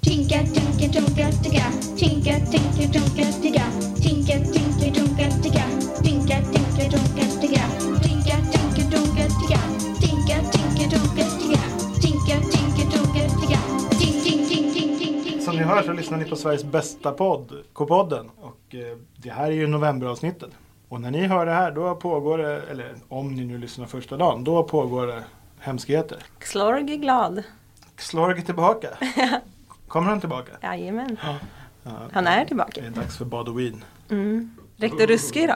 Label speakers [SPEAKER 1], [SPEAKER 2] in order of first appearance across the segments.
[SPEAKER 1] Tinka, tinka, tunka, ticka. Tinka, tinka, tunka, ticka. Tinka, tinka, tunka, ticka. Tinka, tinka, tunka, ticka. Tinka, tinka, tunka, ticka. Tinka, tinka, tunka, ticka. Tinka, tinka, tunka, ticka. Tink, tink, tink, tink, tink, tink.
[SPEAKER 2] Som ni hör så lyssnar ni på Sveriges bästa podd, K-podden. Och eh, det här är ju novemberavsnittet. Och när ni hör det här då pågår det, eller om ni nu lyssnar första dagen, då pågår det hemskheter.
[SPEAKER 3] Xlorg är glad.
[SPEAKER 2] Slorg är tillbaka. Kommer han tillbaka?
[SPEAKER 3] Jajamän.
[SPEAKER 2] Ja,
[SPEAKER 3] Han är
[SPEAKER 2] Det
[SPEAKER 3] tillbaka.
[SPEAKER 2] är dags för Badowin.
[SPEAKER 3] Mm. Rektor Ruske då?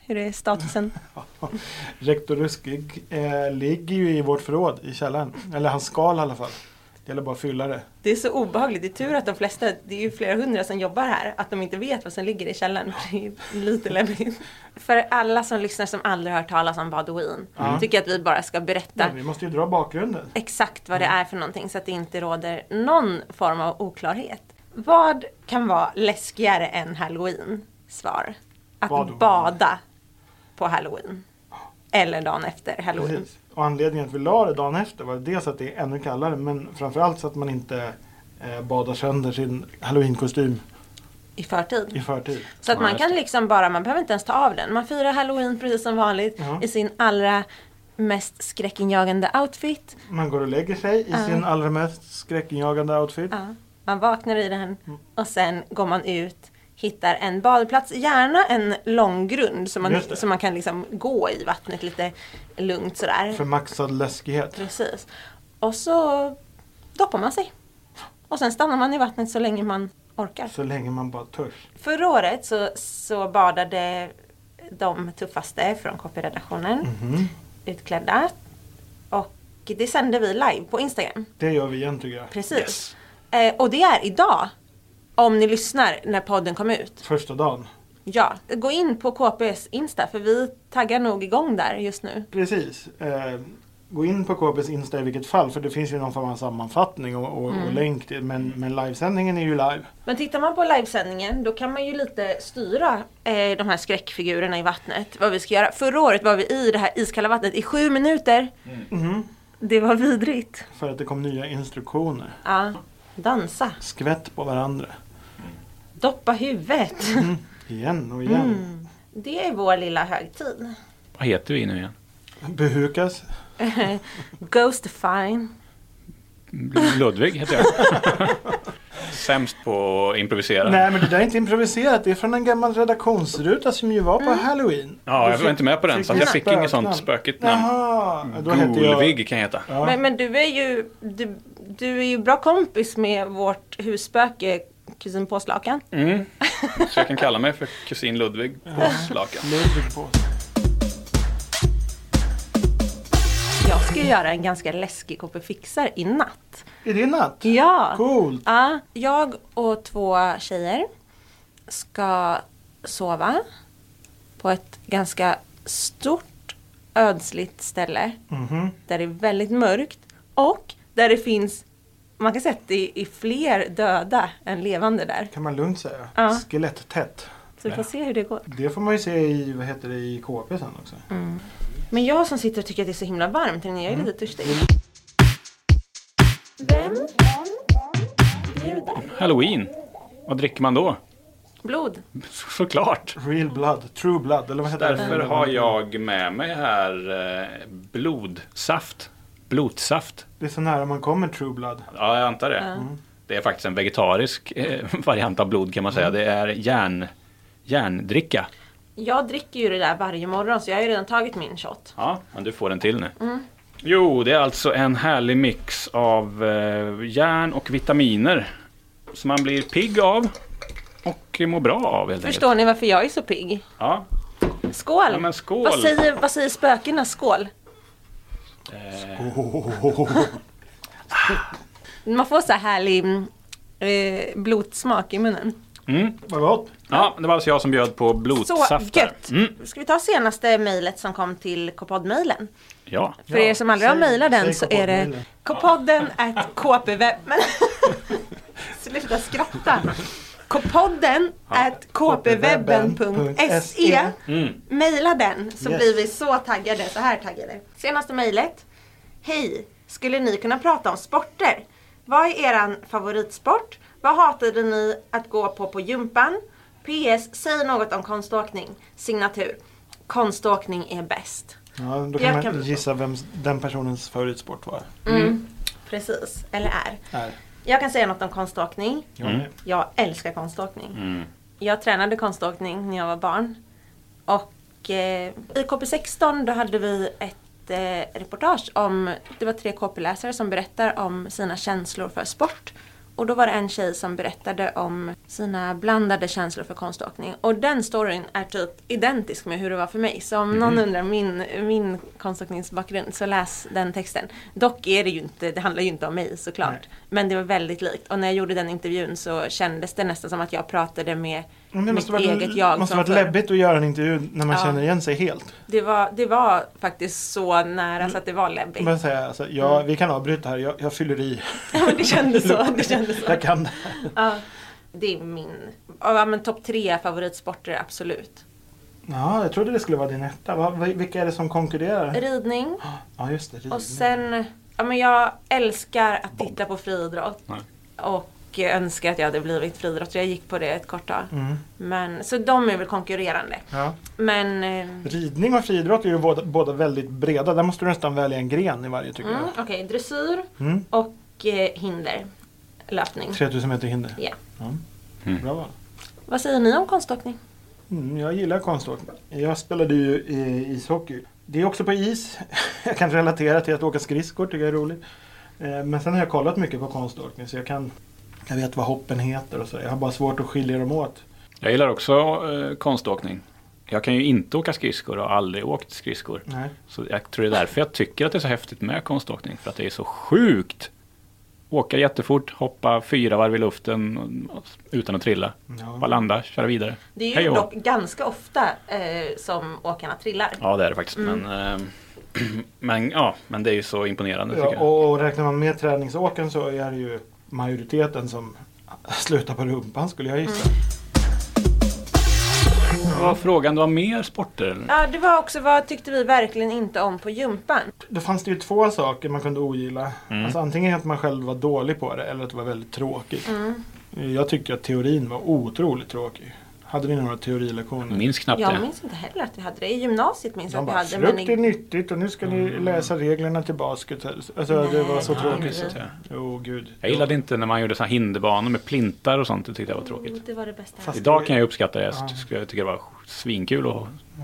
[SPEAKER 3] Hur är statusen?
[SPEAKER 2] Rektor Ruskig eh, ligger ju i vårt förråd i källaren. Eller hans skal i alla fall. Det gäller bara att fylla det.
[SPEAKER 3] Det är så obehagligt. Det är tur att de flesta, det är ju flera hundra som jobbar här, att de inte vet vad som ligger i källaren. Det är lite läbbigt. För alla som lyssnar som aldrig har hört talas om Badouin,
[SPEAKER 2] Ja.
[SPEAKER 3] tycker jag att vi bara ska berätta
[SPEAKER 2] Men vi måste ju dra bakgrunden.
[SPEAKER 3] exakt vad det är för någonting så att det inte råder någon form av oklarhet. Vad kan vara läskigare än halloween? Svar. Att
[SPEAKER 2] Badouin.
[SPEAKER 3] bada på halloween. Eller dagen efter halloween.
[SPEAKER 2] Precis. Och anledningen att vi la det dagen efter var dels att det är ännu kallare men framförallt så att man inte eh, badar sönder sin halloweenkostym
[SPEAKER 3] I förtid.
[SPEAKER 2] i förtid.
[SPEAKER 3] Så att
[SPEAKER 4] Ja,
[SPEAKER 3] man
[SPEAKER 4] just
[SPEAKER 3] kan liksom bara, man behöver inte ens ta av den. Man firar halloween precis som vanligt
[SPEAKER 2] Ja.
[SPEAKER 3] i sin allra mest skräckinjagande outfit.
[SPEAKER 2] Man går och lägger sig i sin allra mest skräckinjagande outfit.
[SPEAKER 3] Ja. Man vaknar i den
[SPEAKER 2] Mm.
[SPEAKER 3] och sen går man ut, hittar en badplats, gärna en långgrund så man,
[SPEAKER 2] Just det.
[SPEAKER 3] så man kan liksom gå i vattnet lite lugnt sådär.
[SPEAKER 2] För maxad läskighet.
[SPEAKER 3] Precis. Och så doppar man sig. Och sen stannar man i vattnet så länge man orkar.
[SPEAKER 2] Så länge man bara törs.
[SPEAKER 3] Förra året så, så badade de tuffaste från KP-redaktionen
[SPEAKER 2] Mm.
[SPEAKER 3] utklädda. Och det sände vi live på Instagram.
[SPEAKER 2] Det gör vi igen tycker jag.
[SPEAKER 3] Precis. Eh, och det är idag. Om ni lyssnar när podden kom ut.
[SPEAKER 2] Första dagen.
[SPEAKER 3] Ja, gå in på KPs Insta för vi taggar nog igång där just nu.
[SPEAKER 2] Precis. Eh, gå in på KBs Insta i vilket fall för det finns ju någon form av sammanfattning och, och,
[SPEAKER 3] Mm.
[SPEAKER 2] och länk till, men, men livesändningen är ju live.
[SPEAKER 3] Men tittar man på livesändningen då kan man ju lite styra eh, de här skräckfigurerna i vattnet. Vad vi ska göra. Förra året var vi i det här iskalla vattnet i sju minuter.
[SPEAKER 2] Mhm.
[SPEAKER 3] Det var vidrigt.
[SPEAKER 2] För att det kom nya instruktioner.
[SPEAKER 3] Ja. Dansa.
[SPEAKER 2] Skvätt på varandra.
[SPEAKER 3] Doppa huvudet.
[SPEAKER 2] Igen och igen.
[SPEAKER 3] Det är vår lilla högtid.
[SPEAKER 4] Vad heter vi nu igen?
[SPEAKER 3] Mm.
[SPEAKER 2] Behukas.
[SPEAKER 3] Ghost fine.
[SPEAKER 4] Ludvig heter jag. Sämst på att improvisera.
[SPEAKER 2] Nej men det där är inte improviserat, det är från en gammal redaktionsruta som ju var på
[SPEAKER 3] Mm.
[SPEAKER 2] halloween.
[SPEAKER 4] Ja, jag
[SPEAKER 2] Du
[SPEAKER 4] var
[SPEAKER 2] fick-
[SPEAKER 4] inte med på den så att
[SPEAKER 2] du
[SPEAKER 4] jag fick inget
[SPEAKER 2] spöknamn.
[SPEAKER 4] sånt spökigt namn. Mm.
[SPEAKER 2] Jaha, då hette jag...
[SPEAKER 4] Golvig kan jag heta.
[SPEAKER 2] Ja.
[SPEAKER 3] Men, men du är ju du, du är ju bra kompis med vårt husspöke kusin Påslakan.
[SPEAKER 4] Mm. Så jag kan kalla mig för kusin Ludvig på Slakan.
[SPEAKER 2] Ludvig på.
[SPEAKER 3] Jag ska ju göra en ganska läskig KP Fixar i natt.
[SPEAKER 2] Är det natt?
[SPEAKER 3] Ja.
[SPEAKER 2] Coolt!
[SPEAKER 3] Ja, jag och två tjejer ska sova på ett ganska stort ödsligt ställe
[SPEAKER 2] Mhm.
[SPEAKER 3] där det är väldigt mörkt och där det finns, man kan säga att det är fler döda än levande där.
[SPEAKER 2] Kan man lugnt säga.
[SPEAKER 3] Ja.
[SPEAKER 2] Skeletttätt.
[SPEAKER 3] Så vi får se hur det går.
[SPEAKER 2] Det får man ju se i, vad heter det, i KP sen också.
[SPEAKER 3] Mm. Men jag som sitter och tycker att det är så himla varmt, jag är
[SPEAKER 4] Mm.
[SPEAKER 3] lite törstig.
[SPEAKER 1] Vem
[SPEAKER 4] Halloween. Vad dricker man då?
[SPEAKER 3] Blod.
[SPEAKER 4] Såklart.
[SPEAKER 2] Real blood, true blood, eller vad heter det?
[SPEAKER 4] Därför har jag med mig här eh, blodsaft. Blodsaft.
[SPEAKER 2] Det är så nära man kommer true blood.
[SPEAKER 4] Ja, jag antar det. Mm. Det är faktiskt en vegetarisk eh, variant av blod kan man säga. Det är järn, järndricka.
[SPEAKER 3] Jag dricker ju det där varje morgon så jag har ju redan tagit min shot.
[SPEAKER 4] Ja, men du får en till nu. Jo, det är alltså en härlig mix av eh, järn och vitaminer. Som man blir pigg av och mår bra av helt enkelt.
[SPEAKER 3] Förstår ni varför jag är så pigg?
[SPEAKER 4] Ja.
[SPEAKER 3] Skål!
[SPEAKER 4] Ja, men skål.
[SPEAKER 3] Vad, säger, vad säger spökena? Skål!
[SPEAKER 4] Eh,
[SPEAKER 3] Man får så här härlig mm, eh, blodsmak i munnen.
[SPEAKER 4] mm.
[SPEAKER 2] Vad gott!
[SPEAKER 4] Ja, det var alltså jag som bjöd på
[SPEAKER 3] Så
[SPEAKER 4] blodsaft. där.
[SPEAKER 3] gött!
[SPEAKER 4] Mm.
[SPEAKER 3] Ska vi ta senaste mejlet som kom till K-podd-mejlen?
[SPEAKER 4] Ja.
[SPEAKER 3] För
[SPEAKER 2] Ja,
[SPEAKER 3] er som aldrig har
[SPEAKER 2] säg-
[SPEAKER 3] mejlat
[SPEAKER 2] säg
[SPEAKER 3] den så är det
[SPEAKER 2] K-poddmejlen.
[SPEAKER 3] kpodden at kpweb... Men sluta skratta! Kpodden at kpwebben.se
[SPEAKER 4] Mm.
[SPEAKER 3] E. Mejla den så
[SPEAKER 2] Yes.
[SPEAKER 3] blir vi så taggade, så här taggade. Senaste mejlet. Hej! Skulle ni kunna prata om sporter? Vad är eran favoritsport? Vad hatade ni att gå på på gympan? PS. Säg något om konståkning. Signatur. Konståkning är bäst.
[SPEAKER 2] Ja, då
[SPEAKER 3] Jag
[SPEAKER 2] kan man
[SPEAKER 3] kan-
[SPEAKER 2] gissa vem den personens favoritsport var.
[SPEAKER 3] Mm. Precis. Eller är.
[SPEAKER 2] Är.
[SPEAKER 3] Jag kan säga något om konståkning.
[SPEAKER 2] Ja,
[SPEAKER 4] Mm.
[SPEAKER 2] nej.
[SPEAKER 3] Jag älskar konståkning.
[SPEAKER 4] Mm.
[SPEAKER 3] Jag tränade konståkning när jag var barn. Och eh, i KP16 då hade vi ett eh, reportage om, det var tre KP-läsare som berättar om sina känslor för sport. Och då var det en tjej som berättade om sina blandade känslor för konståkning. Och den storyn är typ identisk med hur det var för mig. Så om
[SPEAKER 2] Mhm.
[SPEAKER 3] någon undrar min, min konståkningsbakgrund så läs den texten. Dock är det ju inte, det handlar ju inte om mig såklart.
[SPEAKER 2] Nej.
[SPEAKER 3] Men det var väldigt likt. Och när jag gjorde den intervjun så kändes det nästan som att jag pratade med
[SPEAKER 2] Men det måste
[SPEAKER 3] mitt
[SPEAKER 2] varit,
[SPEAKER 3] eget jag.
[SPEAKER 2] måste
[SPEAKER 3] som
[SPEAKER 2] varit
[SPEAKER 3] förr.
[SPEAKER 2] läbbigt att göra en intervju när man
[SPEAKER 3] Ja.
[SPEAKER 2] känner igen sig helt.
[SPEAKER 3] Det var, det var faktiskt så nära så att det var läbbigt.
[SPEAKER 2] Man säger alltså, ja, vi kan avbryta här, jag, jag fyller i.
[SPEAKER 3] Ja, men det kändes så. Mm. Det kändes så.
[SPEAKER 2] Jag kan det.
[SPEAKER 3] Ja. Det är min, ja men topp tre favoritsporter absolut.
[SPEAKER 2] Ja, jag trodde det skulle vara din etta. Va, va- vilka är det som konkurrerar?
[SPEAKER 3] Ridning
[SPEAKER 2] Ja, just det. ridning.
[SPEAKER 3] och sen, ja men jag älskar att titta på friidrott.
[SPEAKER 4] Nej.
[SPEAKER 3] Och önskar att jag hade blivit friidrottare. Jag gick på det ett kort tag.
[SPEAKER 2] Mm.
[SPEAKER 3] Men, så de är väl konkurrerande.
[SPEAKER 2] Ja.
[SPEAKER 3] Men, eh,
[SPEAKER 2] Ridning och friidrott är ju båda, båda väldigt breda. Där måste du nästan välja en gren i varje tycker
[SPEAKER 3] mm, okej, dressyr
[SPEAKER 2] jag. Mm.
[SPEAKER 3] och eh, hinder. Löpning.
[SPEAKER 2] 3000 meter hinder.
[SPEAKER 3] Ja.
[SPEAKER 2] Ja.
[SPEAKER 4] Mm.
[SPEAKER 2] Bra val.
[SPEAKER 3] Vad säger ni om konståkning?
[SPEAKER 2] Mm, jag gillar konståkning. Jag spelade ju eh, ishockey. Det är också på is. Jag kan relatera till att åka skridskor, tycker jag är roligt. Eh, Men sen har jag kollat mycket på konståkning så jag kan... Jag vet vad hoppen heter och så. Jag har bara svårt att skilja dem åt.
[SPEAKER 4] Jag gillar också eh, konståkning. Jag kan ju inte åka skridskor och har aldrig åkt skridskor.
[SPEAKER 2] Nej.
[SPEAKER 4] Så jag tror det är därför jag tycker att det är så häftigt med konståkning. För att det är så sjukt. Åka jättefort, hoppa fyra varv i luften och- och- utan att trilla. Bara
[SPEAKER 2] Ja.
[SPEAKER 4] landa, köra vidare.
[SPEAKER 3] Det är ju
[SPEAKER 4] Hej och hå.
[SPEAKER 3] dock ganska ofta eh, som åkarna trillar.
[SPEAKER 4] Ja, det är det faktiskt.
[SPEAKER 3] Mm.
[SPEAKER 4] Men, eh, men, ja, men det är ju så imponerande tycker
[SPEAKER 2] Ja,
[SPEAKER 4] jag.
[SPEAKER 2] och, och räknar man med träningsåken så är det ju majoriteten som slutar på rumpan skulle jag gissa.
[SPEAKER 4] Vad frågan, det var mer sporter? eller?
[SPEAKER 3] Ja, det var också vad tyckte vi verkligen inte om på gympan.
[SPEAKER 2] Då fanns det ju två saker man kunde ogilla. Alltså antingen att man själv var dålig på det eller att det var väldigt tråkigt. Jag tyckte att teorin var otroligt tråkig. Hade ni några teorilektioner?
[SPEAKER 4] Jag minns knappt
[SPEAKER 3] Jag
[SPEAKER 4] det.
[SPEAKER 3] minns inte heller att vi hade det. I gymnasiet minns jag
[SPEAKER 2] De
[SPEAKER 3] att vi
[SPEAKER 2] bara,
[SPEAKER 3] hade
[SPEAKER 2] frukt är
[SPEAKER 3] i-
[SPEAKER 2] nyttigt och nu ska ni läsa reglerna till basket. Alltså det var så
[SPEAKER 3] Nej,
[SPEAKER 2] tråkigt.
[SPEAKER 4] minns inte.
[SPEAKER 2] Jo, gud.
[SPEAKER 4] Jag gillade inte när man gjorde så här hinderbanor med plintar och sånt. Det tyckte jag var tråkigt.
[SPEAKER 3] Jo, Det var det bästa.
[SPEAKER 2] Fast-
[SPEAKER 4] Idag kan jag uppskatta det. Jag skulle- jag tycker det var svinkul att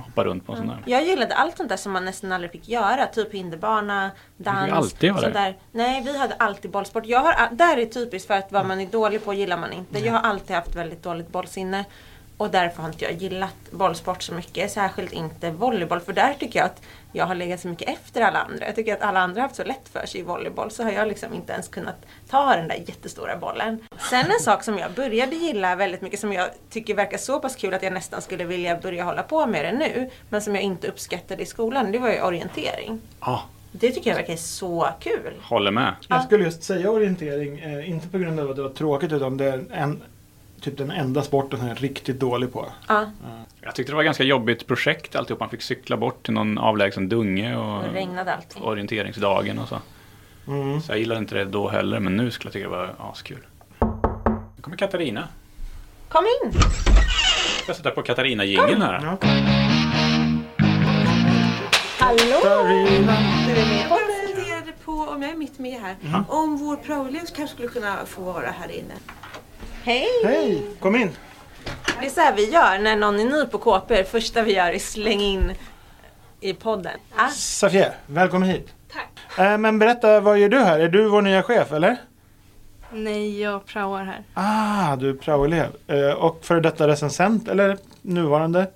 [SPEAKER 4] hoppa runt på en sån där.
[SPEAKER 3] Jag gillade allt sånt där som man nästan aldrig fick göra. Typ hinderbana,
[SPEAKER 4] fick
[SPEAKER 3] dans.
[SPEAKER 4] ju alltid göra
[SPEAKER 3] sånt
[SPEAKER 4] det.
[SPEAKER 3] där. Nej, vi hade alltid bollsport. Jag har, all- där är typiskt för
[SPEAKER 4] Mm.
[SPEAKER 3] att vad man är dålig på gillar man inte. Jag har alltid haft väldigt dåligt bollsinne. Och därför har inte jag gillat bollsport så mycket. Särskilt inte volleyboll. För där tycker jag att jag har legat så mycket efter alla andra. Jag tycker att alla andra har haft så lätt för sig i volleyboll. Så har jag liksom inte ens kunnat ta den där jättestora bollen. Sen en sak som jag började gilla väldigt mycket. Som jag tycker verkar så pass kul att jag nästan skulle vilja börja hålla på med det nu. Men som jag inte uppskattade i skolan. Det var ju orientering.
[SPEAKER 4] Ja,
[SPEAKER 3] Det tycker jag verkar så kul.
[SPEAKER 4] håller med.
[SPEAKER 2] Jag skulle just säga orientering, eh, inte på grund av att det var tråkigt utan det är en, typ den enda sporten som jag är riktigt dålig på.
[SPEAKER 3] Ja,
[SPEAKER 4] Jag tyckte det var ett ganska jobbigt projekt alltihop. Man fick cykla bort till någon avlägsen dunge och
[SPEAKER 3] och
[SPEAKER 5] Mm.
[SPEAKER 3] det regnade alltid.
[SPEAKER 4] orienteringsdagen och så.
[SPEAKER 2] Mm.
[SPEAKER 4] Så jag gillade inte det då heller, men nu skulle jag tycka det var askul. Nu kommer Katarina.
[SPEAKER 3] Kom in!
[SPEAKER 4] Jag ska sätta på Katarina-jingeln här.
[SPEAKER 2] Ja.
[SPEAKER 3] Hallå!
[SPEAKER 5] Nu är med. Jag funderade på, om jag är mitt med här, om vår praoelev kanske skulle kunna få vara här inne.
[SPEAKER 3] Hej!
[SPEAKER 2] Hej, kom in!
[SPEAKER 3] Det är så här vi gör när någon är ny på KP. Första vi gör är släng in i podden. Ah,
[SPEAKER 2] Safier, välkommen hit. Tack. Eh, men berätta, vad gör du här? Är du vår nya chef eller?
[SPEAKER 6] Nej, jag praoar här.
[SPEAKER 2] Ah, du är praoelev. Eh, och före detta recensent eller nuvarande?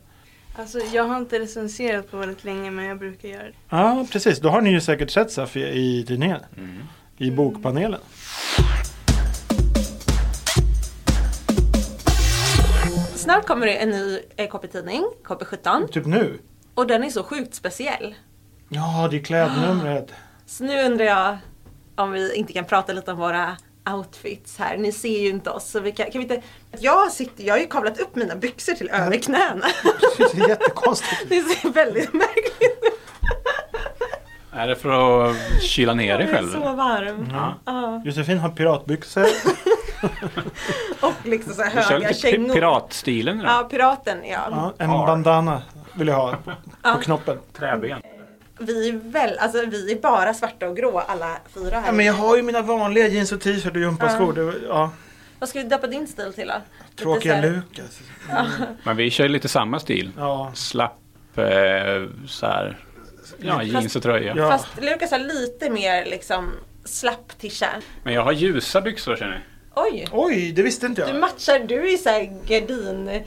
[SPEAKER 6] Alltså, jag har inte recenserat på väldigt länge, men jag brukar göra det.
[SPEAKER 2] Ja, precis. Då har ni ju säkert sett Safier i tidningen. I bokpanelen.
[SPEAKER 3] Snart kommer det en ny eh, KP-tidning, KP17.
[SPEAKER 2] Typ nu.
[SPEAKER 3] Och den är så sjukt speciell.
[SPEAKER 2] Ja, det är klädnumret.
[SPEAKER 3] Så nu undrar jag om vi inte kan prata lite om våra outfits här. Ni ser ju inte oss. Så vi kan, kan vi inte... jag, sitter, jag har ju kavlat upp mina byxor till
[SPEAKER 2] Mm.
[SPEAKER 3] över knäna.
[SPEAKER 2] Det är jättekonstigt.
[SPEAKER 3] Det ser väldigt märkligt ut.
[SPEAKER 4] Är det för att kyla ner dig
[SPEAKER 3] Jag är
[SPEAKER 4] själv?
[SPEAKER 3] så varm. Ja.
[SPEAKER 2] Josefin har piratbyxor.
[SPEAKER 3] Och liksom så här
[SPEAKER 4] Vi kör
[SPEAKER 3] höga
[SPEAKER 4] lite pi-
[SPEAKER 3] kängor.
[SPEAKER 4] piratstilen idag.
[SPEAKER 3] Ja, piraten ja.
[SPEAKER 2] Ja, en
[SPEAKER 4] Har.
[SPEAKER 2] bandana vill jag ha på,
[SPEAKER 3] Ja.
[SPEAKER 2] på knoppen.
[SPEAKER 4] Träben.
[SPEAKER 3] Vi, är väl, alltså, vi är bara svarta och gråa alla fyra här.
[SPEAKER 2] Ja, men jag har ju mina vanliga jeans och t-shirt och gympaskor. Det var- Ja,
[SPEAKER 3] Vad ska vi döpa din stil till då?
[SPEAKER 2] tråkiga
[SPEAKER 3] Lite så här-
[SPEAKER 2] Lukas.
[SPEAKER 4] Men vi kör lite samma stil.
[SPEAKER 2] Ja.
[SPEAKER 4] Slapp eh, så här. Ja, jeans och tröja.
[SPEAKER 2] Ja.
[SPEAKER 3] Fast Lukas har lite mer liksom slapp tisha.
[SPEAKER 4] Men jag har ljusa byxor känner ni.
[SPEAKER 3] Oj!
[SPEAKER 2] Oj, det visste inte
[SPEAKER 3] Du
[SPEAKER 2] jag.
[SPEAKER 3] matchar, du är ju såhär gardin,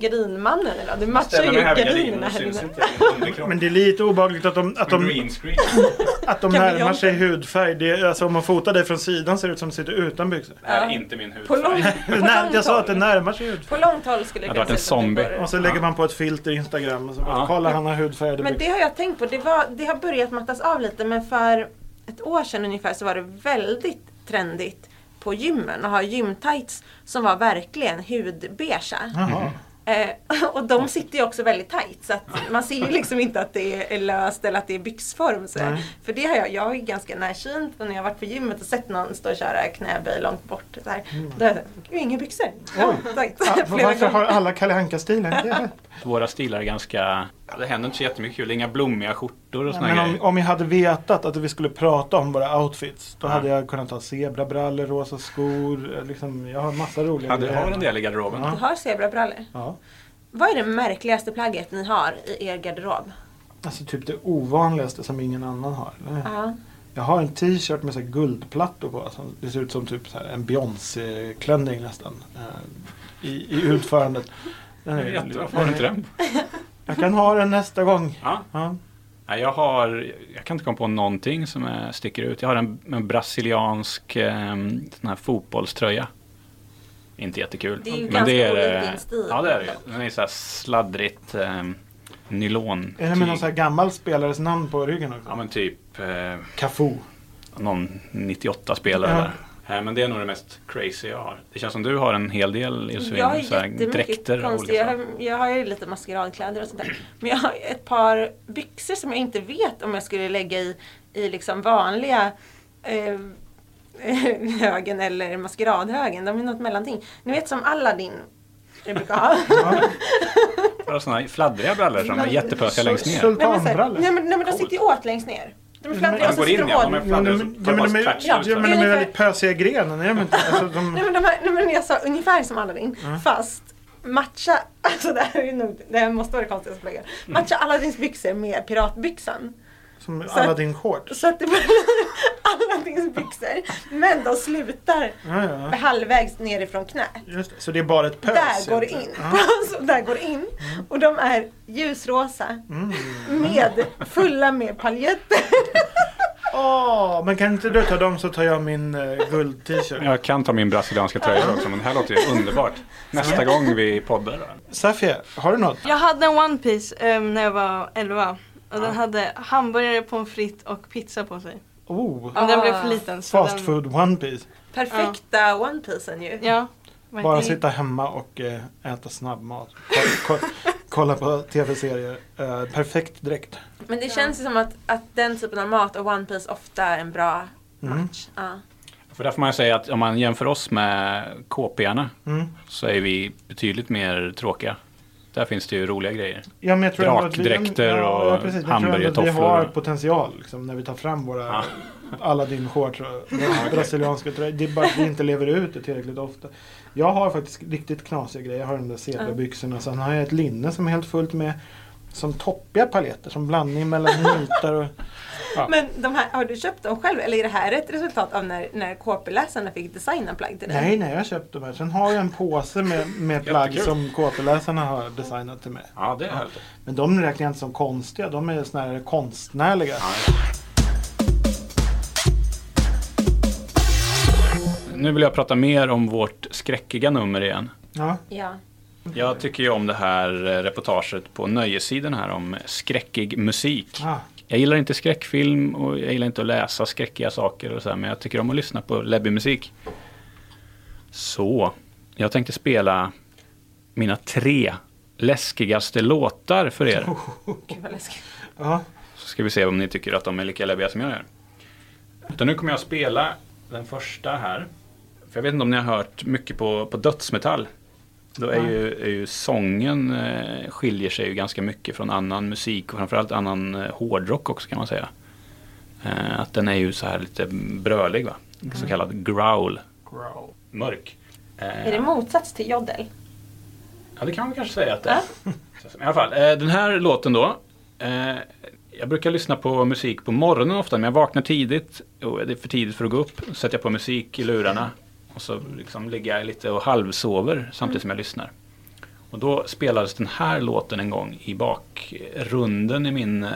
[SPEAKER 3] gardinmannen idag. Du matchar ju
[SPEAKER 4] Ställer mig här vid gardinen
[SPEAKER 3] gardinerna
[SPEAKER 4] och
[SPEAKER 3] här
[SPEAKER 4] syns
[SPEAKER 3] inne.
[SPEAKER 4] inte underkropp.
[SPEAKER 2] Men det är lite obehagligt att de, att de,
[SPEAKER 4] Green screen.
[SPEAKER 2] att de
[SPEAKER 3] Kan vi
[SPEAKER 2] närmar
[SPEAKER 3] göra
[SPEAKER 2] sig hudfärg. Det är, alltså, om man fotar dig från sidan ser det ut som att du sitter utan byxor.
[SPEAKER 4] är inte min hud.
[SPEAKER 3] På långt, på
[SPEAKER 2] Nej, jag
[SPEAKER 3] långt
[SPEAKER 2] sa att det
[SPEAKER 3] håll.
[SPEAKER 2] närmar sig hudfärg.
[SPEAKER 3] På långt håll skulle det
[SPEAKER 4] Det
[SPEAKER 3] kunna
[SPEAKER 4] hade varit
[SPEAKER 3] se ut
[SPEAKER 4] en
[SPEAKER 3] som det
[SPEAKER 4] zombie.
[SPEAKER 3] var-
[SPEAKER 2] Och så lägger man på ett filter i Instagram och så bara,
[SPEAKER 4] Ja.
[SPEAKER 2] kolla han har hudfärgade
[SPEAKER 3] Men
[SPEAKER 2] byxor.
[SPEAKER 3] det har jag tänkt på. Det, var, det har börjat mattas av lite men för ett år sedan ungefär så var det väldigt trendigt på gymmen att ha gymtights som var verkligen hudbeiga.
[SPEAKER 2] Jaha.
[SPEAKER 3] Eh, och de sitter ju också väldigt tajt så att man ser ju liksom inte att det är löst eller att det är byxform. Så.
[SPEAKER 2] Nej.
[SPEAKER 3] För det har jag, jag är ju ganska närsynt och när jag har varit på gymmet och sett någon stå och köra knäböj långt bort. Så här,
[SPEAKER 2] Mm.
[SPEAKER 3] Då har jag sagt, "Gud, inga byxor. Ja, tajt.
[SPEAKER 2] Ah,
[SPEAKER 3] Flera
[SPEAKER 2] varför
[SPEAKER 3] gånger.
[SPEAKER 2] har alla Kalle Anka-stilen? Det-
[SPEAKER 4] Våra stilar är ganska... Ja, det händer inte så jättemycket kul. Inga blommiga skjortor och såna
[SPEAKER 2] Men om,
[SPEAKER 4] grejer.
[SPEAKER 2] om jag hade vetat att vi skulle prata om våra outfits då hade jag kunnat ha zebrabrallor, rosa skor. eh, Liksom, jag har massa roliga
[SPEAKER 4] Ja, du har en del i garderoben.
[SPEAKER 2] Ja.
[SPEAKER 3] Du har zebrabrallor.
[SPEAKER 2] Ja.
[SPEAKER 3] Vad är det märkligaste plagget ni har i er garderob?
[SPEAKER 2] Alltså typ det ovanligaste som ingen annan har. eller?
[SPEAKER 3] Ja.
[SPEAKER 2] Jag har en t-shirt med så här guldplattor på. Som det ser ut som typ så här en Beyoncé-klänning nästan. eh, I, i utförandet. Den
[SPEAKER 4] Jag
[SPEAKER 2] är-
[SPEAKER 4] vet inte, Varför har du inte den?
[SPEAKER 2] Jag kan ha den nästa gång.
[SPEAKER 4] Ja.
[SPEAKER 2] Ja.
[SPEAKER 4] Nej, jag har... Jag kan inte komma på någonting som eh, sticker ut. Jag har en, en brasiliansk eh, sån här fotbollströja. Inte jättekul.
[SPEAKER 3] Det är ju ganska
[SPEAKER 4] eh,
[SPEAKER 3] olik din stil.
[SPEAKER 4] Ja, det är det ju. Den är så här sladdrigt eh, nylon. typ.
[SPEAKER 2] Är det med någon så här gammal spelares namn på ryggen också?
[SPEAKER 4] Ja, men typ... Eh,
[SPEAKER 2] Cafu.
[SPEAKER 4] någon 98-spelare
[SPEAKER 2] Ja.
[SPEAKER 4] där. Nej, men det är nog det mest crazy jag har. Det känns som du har en hel del Josefin.
[SPEAKER 3] Jag har
[SPEAKER 4] så här
[SPEAKER 3] jättemycket
[SPEAKER 4] dräkter av
[SPEAKER 3] konstiga,
[SPEAKER 4] olika
[SPEAKER 3] jag
[SPEAKER 4] slag.
[SPEAKER 3] har, jag har ju lite maskeradkläder och sånt där. Men jag har ett par byxor som jag inte vet om jag skulle lägga i, i liksom vanliga eh, högen eller maskeradhögen. De är något mellanting. Ni vet som Aladdin jag brukar ha.
[SPEAKER 4] Jag har sådana här fladdriga brallor som är jättepösiga längst ner.
[SPEAKER 3] nej, men, så här,
[SPEAKER 2] Sultanbrallor.
[SPEAKER 3] nej, men, nej men de sitter ju åt längst ner. De är fladdriga
[SPEAKER 4] Man
[SPEAKER 3] och så
[SPEAKER 4] går in
[SPEAKER 3] sitter
[SPEAKER 4] i
[SPEAKER 3] de åt.
[SPEAKER 4] dem, Mm. de
[SPEAKER 2] Ja, men,
[SPEAKER 4] är fladdriga så
[SPEAKER 2] men,
[SPEAKER 4] tar
[SPEAKER 2] men,
[SPEAKER 4] man
[SPEAKER 2] de är-
[SPEAKER 4] stretch
[SPEAKER 2] ja,
[SPEAKER 4] ut så
[SPEAKER 2] men de
[SPEAKER 4] här.
[SPEAKER 2] är
[SPEAKER 3] Ungefär.
[SPEAKER 2] väldigt pösiga i grenen, är de inte? Alltså, de,
[SPEAKER 3] Nej men, de här, nej men jag sa ungefär som Aladdin. Fast matcha, alltså det här är nog, det här måste vara det konstigaste plagget. Matcha Aladdins byxor med piratbyxan.
[SPEAKER 2] som
[SPEAKER 3] så-
[SPEAKER 2] Aladdin shorts.
[SPEAKER 3] Så att det blir Aladdins byxor. Men de slutar
[SPEAKER 2] Ja, ja.
[SPEAKER 3] halvvägs nerifrån knä.
[SPEAKER 2] Just det. Så det är bara ett pös?
[SPEAKER 3] Där går det
[SPEAKER 2] egentligen.
[SPEAKER 3] in. Så där går det in. Och de är ljusrosa. Med, fulla med paljetter.
[SPEAKER 2] Åh, men kan inte du ta dem så tar jag min eh, guld-t-shirt.
[SPEAKER 4] Jag kan ta min brasilianska tröja också, men det här låter ju underbart. Nästa gång vi poddar. då.
[SPEAKER 2] Safia, har du något?
[SPEAKER 6] Jag hade en One Piece ehm, när jag var 11 och den hade hamburgare, pommes frites och pizza på sig.
[SPEAKER 2] Oh,
[SPEAKER 6] Men den
[SPEAKER 3] Ah.
[SPEAKER 6] blev för liten. Så
[SPEAKER 2] fast
[SPEAKER 6] Alltså den,
[SPEAKER 2] food one piece.
[SPEAKER 3] Perfekta one piecen ju.
[SPEAKER 6] Ja. var
[SPEAKER 2] Bara
[SPEAKER 6] inte-
[SPEAKER 2] sitta hemma och eh, äta snabbmat. Kolla, kolla på tv-serier. Eh, perfekt direkt.
[SPEAKER 3] Men det känns ju som att, att den typen av mat och one piece ofta är en bra
[SPEAKER 2] Mm.
[SPEAKER 3] match. Ja.
[SPEAKER 4] För där får man ju säga att om man jämför oss med KP-arna
[SPEAKER 2] Mm.
[SPEAKER 4] så är vi betydligt mer tråkiga. Där finns det ju roliga grejer.
[SPEAKER 2] Ja, men jag tror ändå att vi-
[SPEAKER 4] Drakdräkter och
[SPEAKER 2] ja, precis. Jag tror ändå att Vi
[SPEAKER 4] hamburgertofflor.
[SPEAKER 2] har potential liksom, när vi tar fram våra
[SPEAKER 4] Ja.
[SPEAKER 2] Aladdin-shorts och brasilianska tröjor. Det är bara att vi inte lever ut det tillräckligt ofta. Jag har faktiskt riktigt knasiga grejer. Jag har de där zebrabyxorna. Sen har jag ett linne som är helt fullt med som toppiga paletter. Som blandning mellan nitar och...
[SPEAKER 3] Men de här, har du köpt dem själv eller är det här ett resultat av när, när KP-läsarna fick designa plagg till dig?
[SPEAKER 2] Nej, nej, jag har köpt de här. Sen har jag en påse med, med plagg
[SPEAKER 4] Jättekul.
[SPEAKER 2] som KP-läsarna har designat till mig.
[SPEAKER 4] Ja, det är härligt.
[SPEAKER 2] Men de räknar jag inte som konstiga. De är snarare konstnärliga.
[SPEAKER 4] Nu vill jag prata mer om vårt skräckiga nummer igen.
[SPEAKER 2] Ja.
[SPEAKER 3] Ja.
[SPEAKER 4] Jag tycker ju om det här eh, reportaget på Nöjessidan här om skräckig musik.
[SPEAKER 2] Ah.
[SPEAKER 4] Jag gillar inte skräckfilm och jag gillar inte att läsa skräckiga saker och så här, men jag tycker om att lyssna på läbbig musik. Så, jag tänkte spela mina tre läskigaste låtar för er.
[SPEAKER 3] Gud vad läskigt.
[SPEAKER 2] Ja.
[SPEAKER 4] Så ska vi se om ni tycker att de är lika läbbiga som jag är. Utan nu kommer jag att spela den första här. För jag vet inte om ni har hört mycket på, på dödsmetall. Då är
[SPEAKER 2] Nej.
[SPEAKER 4] ju, är ju sången eh, skiljer sig ju ganska mycket från annan musik och framförallt annan eh, hårdrock också kan man säga. Eh, att den är ju så här lite brölig va? Så kallad growl.
[SPEAKER 2] Growl.
[SPEAKER 4] Mörk. Eh,
[SPEAKER 3] Är det motsats till jodel?
[SPEAKER 4] Ja, det kan man kanske säga att det är. I alla fall, eh, den här låten då. eh, Jag brukar lyssna på musik på morgonen ofta, men jag vaknar tidigt. Och det är för tidigt för att gå upp. Så sätter jag på musik i lurarna. Och så liksom ligger jag lite och halvsover samtidigt som jag lyssnar. Och då spelades den här låten en gång i bakrunden i min, eh,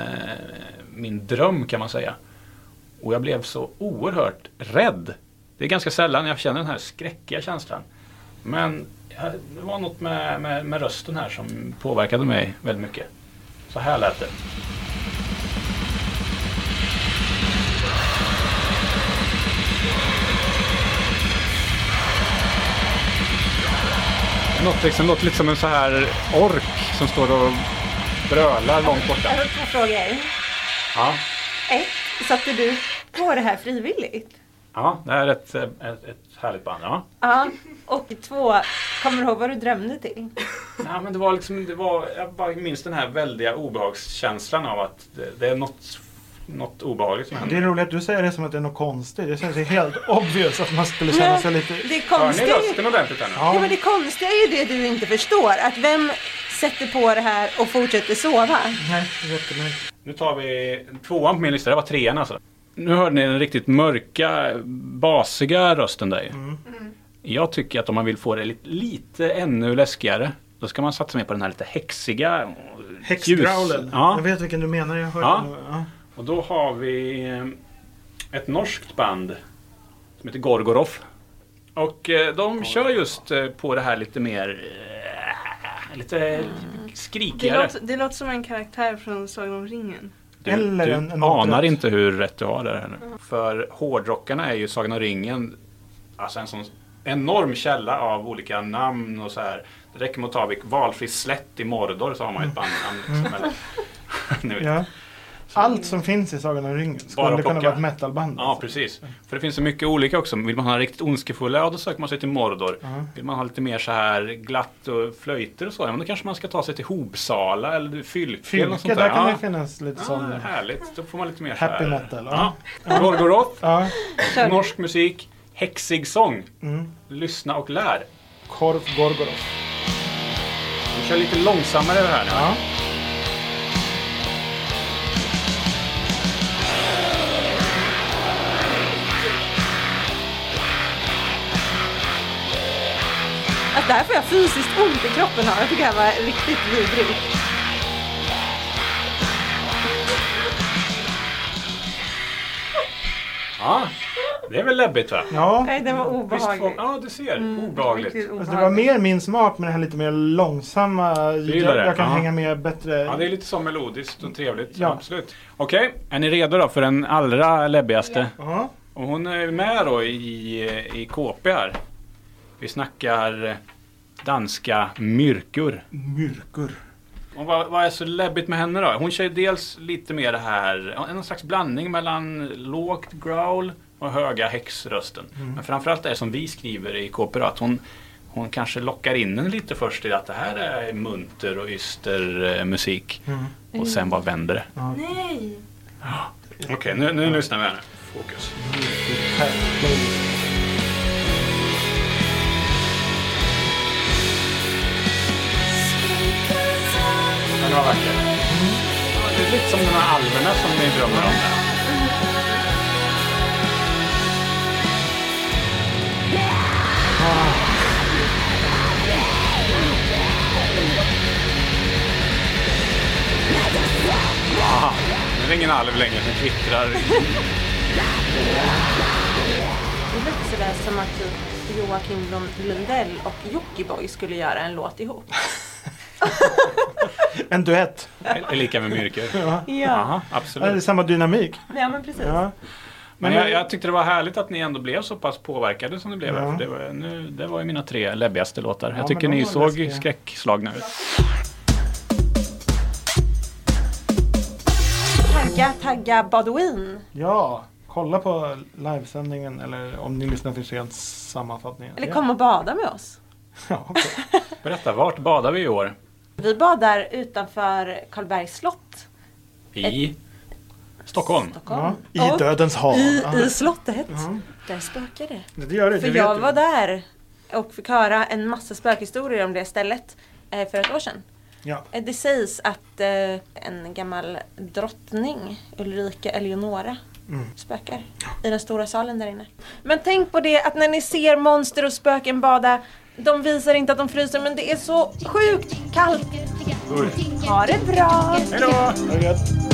[SPEAKER 4] min dröm kan man säga. Och jag blev så oerhört rädd. Det är ganska sällan jag känner den här skräckiga känslan. Men jag- det var något med, med, med rösten här som påverkade mig väldigt mycket. Så här lät det. Något, liksom, något lite som en så här ork som står och brölar långt borta.
[SPEAKER 3] Jag har två frågor.
[SPEAKER 4] Ja,
[SPEAKER 3] Ett, satte du på det här frivilligt?
[SPEAKER 4] ja det här är ett, eh, ett, ett härligt band. Ja.
[SPEAKER 3] Ja. Och två, kommer du ihåg vad du drömde till?
[SPEAKER 4] Nej, men det var liksom, det var, jag bara minns den här väldiga obehagskänslan av att det, det är något, något obehagligt som
[SPEAKER 2] Det är
[SPEAKER 4] händer.
[SPEAKER 2] roligt att du säger det som att det är något konstigt. Det känns ju helt obvious att man skulle känna sig lite...
[SPEAKER 3] Det
[SPEAKER 4] Hör ni
[SPEAKER 3] konstiga,
[SPEAKER 4] rösten ordentligt här nu?
[SPEAKER 3] ja,
[SPEAKER 2] Ja,
[SPEAKER 3] men det konstiga är ju det du inte förstår. Att vem sätter på det här och fortsätter sova?
[SPEAKER 2] nej, jättemärkligt.
[SPEAKER 4] Nu tar vi tvåan på min lista, det var trean alltså. Nu hörde ni den riktigt mörka, basiga rösten där ju. Mm. Jag tycker att om man vill få det lite, lite ännu läskigare, då ska man satsa mer på den här lite häxiga...
[SPEAKER 2] Häxgrowlen.
[SPEAKER 4] ljus- Ja.
[SPEAKER 2] Jag vet vilken du menar. Jag hörde
[SPEAKER 4] Ja.
[SPEAKER 2] den. Ja.
[SPEAKER 4] Och då har vi eh, ett norskt band som heter Gorgoroff. Och eh, de kör just eh, på det här lite mer... eh, Lite
[SPEAKER 6] Det
[SPEAKER 4] skrikigare.
[SPEAKER 6] låter, det låter som en karaktär från Sagan om ringen.
[SPEAKER 4] Du,
[SPEAKER 2] Eller
[SPEAKER 4] du
[SPEAKER 2] en- en
[SPEAKER 4] anar
[SPEAKER 2] återröst.
[SPEAKER 4] inte hur rätt du har där. här nu. För hårdrockarna är ju Sagan om ringen alltså en sån enorm källa av olika namn och så här. Det räcker med att ta vilk- valfri slätt i Mordor så har man ju ett bandnamn.
[SPEAKER 2] Mm.
[SPEAKER 4] Liksom, eller, ni vet.
[SPEAKER 2] Ja. Allt som finns i Sagan om ringen
[SPEAKER 4] Bara
[SPEAKER 2] skulle kunna
[SPEAKER 4] plocka.
[SPEAKER 2] vara ett metalband.
[SPEAKER 4] Ja,
[SPEAKER 2] alltså.
[SPEAKER 4] precis. För det finns så mycket olika också. Vill man ha riktigt ondskefulla, ja då söker man sig till Mordor.
[SPEAKER 2] alltså. Ja.
[SPEAKER 4] Vill man ha lite mer så här glatt och flöjter och så, ja men då kanske man ska ta sig till Hobsala eller Fylke. eller något
[SPEAKER 2] Fylke, där
[SPEAKER 4] sånt
[SPEAKER 2] kan
[SPEAKER 4] ja.
[SPEAKER 2] det finnas lite sån...
[SPEAKER 4] Ja, härligt, då får man lite mer
[SPEAKER 2] Happy
[SPEAKER 4] så här.
[SPEAKER 2] metal,
[SPEAKER 4] Ja.
[SPEAKER 2] ja.
[SPEAKER 4] Gorgoroth,
[SPEAKER 2] Ja.
[SPEAKER 4] norsk musik, häxig sång.
[SPEAKER 2] Mm.
[SPEAKER 4] Lyssna och lär.
[SPEAKER 2] Korv Gorgoroth.
[SPEAKER 4] Vi kör lite långsammare det här nu.
[SPEAKER 2] Ja.
[SPEAKER 3] Att där får jag fysiskt ont i kroppen av. Jag tycker det här var riktigt vidrigt.
[SPEAKER 4] Ja. Det är väl läbbigt va?
[SPEAKER 2] ja.
[SPEAKER 3] Nej, den var
[SPEAKER 4] Visst får-
[SPEAKER 3] obehaglig.
[SPEAKER 4] Ja, du ser.
[SPEAKER 3] Mm.
[SPEAKER 4] Obehagligt.
[SPEAKER 2] Alltså, det var mer min smak med det här lite mer långsamma. Jag,
[SPEAKER 4] gillar det,
[SPEAKER 2] jag kan
[SPEAKER 4] ja.
[SPEAKER 2] hänga med bättre.
[SPEAKER 4] Ja, det är lite så melodiskt och trevligt.
[SPEAKER 2] Ja.
[SPEAKER 4] Absolut. Okej, är ni redo då för den allra läbbigaste?
[SPEAKER 2] Ja.
[SPEAKER 4] Och hon är med då i, i KP här. Vi snackar danska myrkur.
[SPEAKER 2] Myrkur.
[SPEAKER 4] Och vad, vad är så läbbigt med henne då? Hon kör ju dels lite mer det här, ja, en slags blandning mellan lågt growl och höga häxrösten.
[SPEAKER 2] Mm.
[SPEAKER 4] Men framförallt det som vi skriver i KP då, att hon, hon kanske lockar in en lite först i att det här är munter och yster eh, musik.
[SPEAKER 2] Mm.
[SPEAKER 4] Och sen bara vänder det.
[SPEAKER 5] Nej!
[SPEAKER 4] Okej, nu, nu lyssnar vi här nu. Fokus. Den var vacker. Ja, Det är lite som de här alverna som ni drömmer om där. Aha, nu är det ingen alv längre som kvittrar.
[SPEAKER 3] Det låter sådär som att typ Joakim Lund- Lundell och Jockiboi skulle göra en låt ihop.
[SPEAKER 2] En duett.
[SPEAKER 4] Det är lika med myrker.
[SPEAKER 2] Ja.
[SPEAKER 4] Aha,
[SPEAKER 2] Ja, Det är
[SPEAKER 4] absolut.
[SPEAKER 2] samma dynamik.
[SPEAKER 3] Ja men precis.
[SPEAKER 2] Ja.
[SPEAKER 4] Men jag, jag tyckte det var härligt att ni ändå blev så pass påverkade som ni blev.
[SPEAKER 2] Ja.
[SPEAKER 4] För det, var, nu, det var ju mina tre läbbigaste låtar.
[SPEAKER 2] Ja,
[SPEAKER 4] Jag tycker
[SPEAKER 2] men de
[SPEAKER 4] ni
[SPEAKER 2] var
[SPEAKER 4] såg
[SPEAKER 2] läskiga.
[SPEAKER 4] skräckslagna ut.
[SPEAKER 3] Tagga, tagga Badouin.
[SPEAKER 2] ja. kolla på livesändningen eller om ni lyssnar för sent sammanfattningen.
[SPEAKER 3] Eller kom och bada med oss.
[SPEAKER 2] Ja, okej.
[SPEAKER 4] Berätta, vart badar vi i år?
[SPEAKER 3] Vi badar utanför Karlbergs slott.
[SPEAKER 4] I Stockholm.
[SPEAKER 3] Stockholm.
[SPEAKER 2] ja. I
[SPEAKER 3] Och
[SPEAKER 2] Dödens hav.
[SPEAKER 3] I,
[SPEAKER 2] Ja.
[SPEAKER 3] i slottet.
[SPEAKER 2] Ja.
[SPEAKER 3] Där spökar det.
[SPEAKER 2] Det gör det,
[SPEAKER 3] För
[SPEAKER 2] det
[SPEAKER 3] jag
[SPEAKER 2] vet du.
[SPEAKER 3] var där och fick höra en massa spökhistorier om det stället eh, för ett år sedan.
[SPEAKER 2] Ja.
[SPEAKER 3] Eh, Det sägs att eh, en gammal drottning, Ulrika Eleonora, spökar i den stora salen där inne. Men tänk på det att när ni ser monster och spöken bada, de visar inte att de fryser men det är så sjukt kallt.
[SPEAKER 1] Ha det bra!
[SPEAKER 2] Hej då! Ha det gött.